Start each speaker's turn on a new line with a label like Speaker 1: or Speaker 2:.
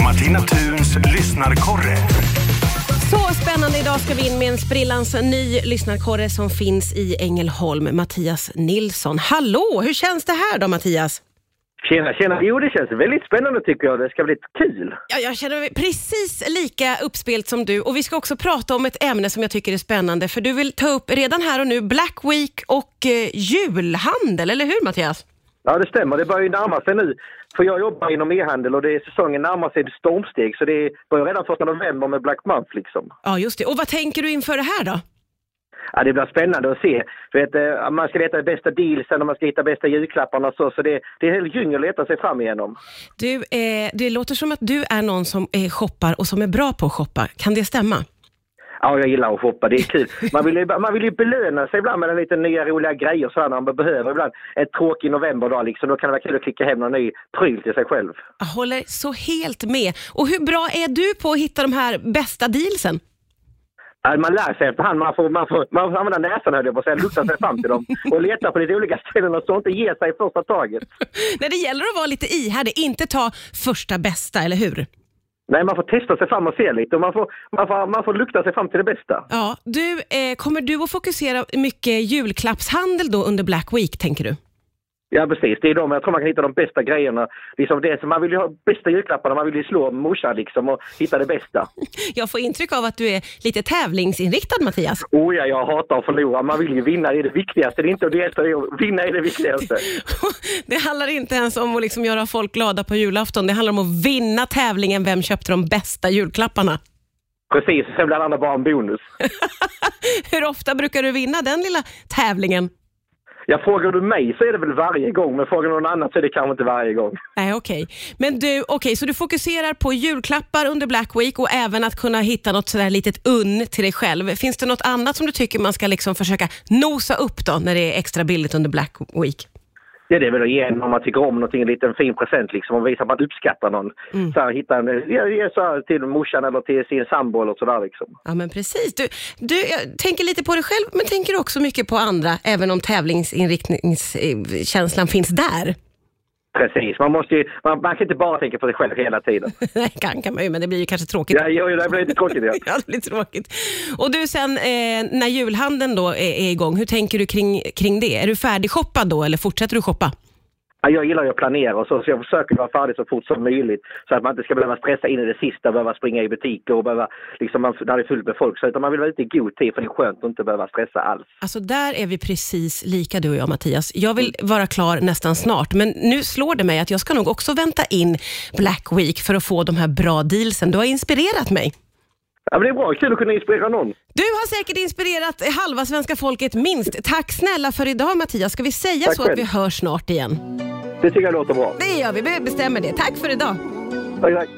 Speaker 1: Naturns lyssnarkorre.
Speaker 2: Så spännande! Idag ska vi in med en sprillans ny lyssnarkorre som finns i Ängelholm, Mattias Nilsson. Hallå! Hur känns det här då, Mattias?
Speaker 3: Tjena, tjena. Jo, det känns väldigt spännande tycker jag. Det ska bli kul.
Speaker 2: Ja, jag känner mig precis lika uppspelt som du och vi ska också prata om ett ämne som jag tycker är spännande för du vill ta upp redan här och nu Black Week och eh, julhandel, eller hur Mattias?
Speaker 3: Ja, det stämmer. Det börjar ju närma sig nu. För jag jobbar inom e-handel och det är, säsongen närmar sig ett stormsteg så det börjar redan första november med Black Month liksom.
Speaker 2: Ja, just det. Och vad tänker du inför det här då?
Speaker 3: Ja, det blir spännande att se. Du vet, eh, man ska leta bästa dealsen och man ska hitta bästa julklapparna och så. Så det, det är helt djungel att leta sig fram igenom.
Speaker 2: Du, eh, det låter som att du är någon som eh, shoppar och som är bra på att shoppa. Kan det stämma?
Speaker 3: Ja, jag gillar att shoppa. Det är kul. Man vill ju, man vill ju belöna sig ibland med en liten nya roliga grejer så här när man behöver. Ibland en tråkig novemberdag liksom. Då kan det vara kul att klicka hem någon ny pryl till sig själv.
Speaker 2: Jag håller så helt med. Och hur bra är du på att hitta de här bästa dealsen?
Speaker 3: Ja, Äh, Man lär sig efterhand. Man får, man får, man får använda näsan höll jag på att säga, lukta sig fram till dem och leta på lite olika ställen och så inte ge sig i första taget.
Speaker 2: Nej, det gäller att vara lite ihärdig, inte ta första bästa, eller hur?
Speaker 3: Nej, man får testa sig fram och se lite och man får, man får, man får lukta sig fram till det bästa.
Speaker 2: Ja, du, eh, kommer du att fokusera mycket julklappshandel då under Black Week, tänker du?
Speaker 3: Ja, precis. Det är de, jag tror man kan hitta de bästa grejerna. Liksom det, som man vill ju ha bästa julklapparna, man vill ju slå morsan liksom och hitta det bästa.
Speaker 2: Jag får intryck av att du är lite tävlingsinriktad, Mattias.
Speaker 3: Oh ja, jag hatar att förlora. Man vill ju vinna, det är det viktigaste. Det är inte att delta, det är att vinna är det viktigaste.
Speaker 2: Det handlar inte ens om att liksom göra folk glada på julafton. Det handlar om att vinna tävlingen Vem köpte de bästa julklapparna?
Speaker 3: Precis, sen blir alla andra bara en bonus.
Speaker 2: Hur ofta brukar du vinna den lilla tävlingen?
Speaker 3: Ja, frågar du mig så är det väl varje gång, men frågar någon annan så är det kanske inte varje gång.
Speaker 2: Nej, okej. Men du, okej, så du fokuserar på julklappar under Black Week och även att kunna hitta något sådär litet unn till dig själv. Finns det något annat som du tycker man ska liksom försöka nosa upp då när det är extra billigt under Black Week?
Speaker 3: Ja, det är väl att ge en, om man tycker om någonting, en liten fin present liksom och visa att man uppskattar någon. Så här, hitta en, ja, ge så här till morsan eller till sin sambo eller sådär liksom.
Speaker 2: Ja, men precis. Du, du jag tänker lite på dig själv, men tänker också mycket på andra, även om tävlingsinriktningskänslan finns där.
Speaker 3: Precis, man måste ju, man, man kan inte bara tänka på sig själv hela tiden.
Speaker 2: Nej, kan, kan man ju, men det blir ju kanske tråkigt.
Speaker 3: Ja, jo, jo, det blir lite tråkigt ja.
Speaker 2: Ja, det blir tråkigt. Och du, sen eh, när julhandeln då är, är igång, hur tänker du kring, kring det? Är du färdigshoppad då eller fortsätter du shoppa?
Speaker 3: Ja, Jag gillar ju att planera och så, så jag försöker vara färdig så fort som möjligt så att man inte ska behöva stressa in i det sista, behöva springa i butiker och behöva, liksom, man, när det är fullt med folk. Så utan man vill vara ute i god tid för det är skönt att inte behöva stressa alls.
Speaker 2: Alltså där är vi precis lika du och jag Mattias. Jag vill vara klar nästan snart, men nu slår det mig att jag ska nog också vänta in Black Week för att få de här bra dealsen. Du har inspirerat mig.
Speaker 3: Ja, men det är bra, kul att kunna inspirera någon.
Speaker 2: Du har säkert inspirerat halva svenska folket minst. Tack snälla för idag Mattias. Ska vi säga
Speaker 3: Tack
Speaker 2: så att
Speaker 3: själv.
Speaker 2: vi hörs snart igen?
Speaker 3: Det tycker jag låter bra.
Speaker 2: Det gör vi, vi bestämmer det. Tack för idag.
Speaker 3: Tack, tack.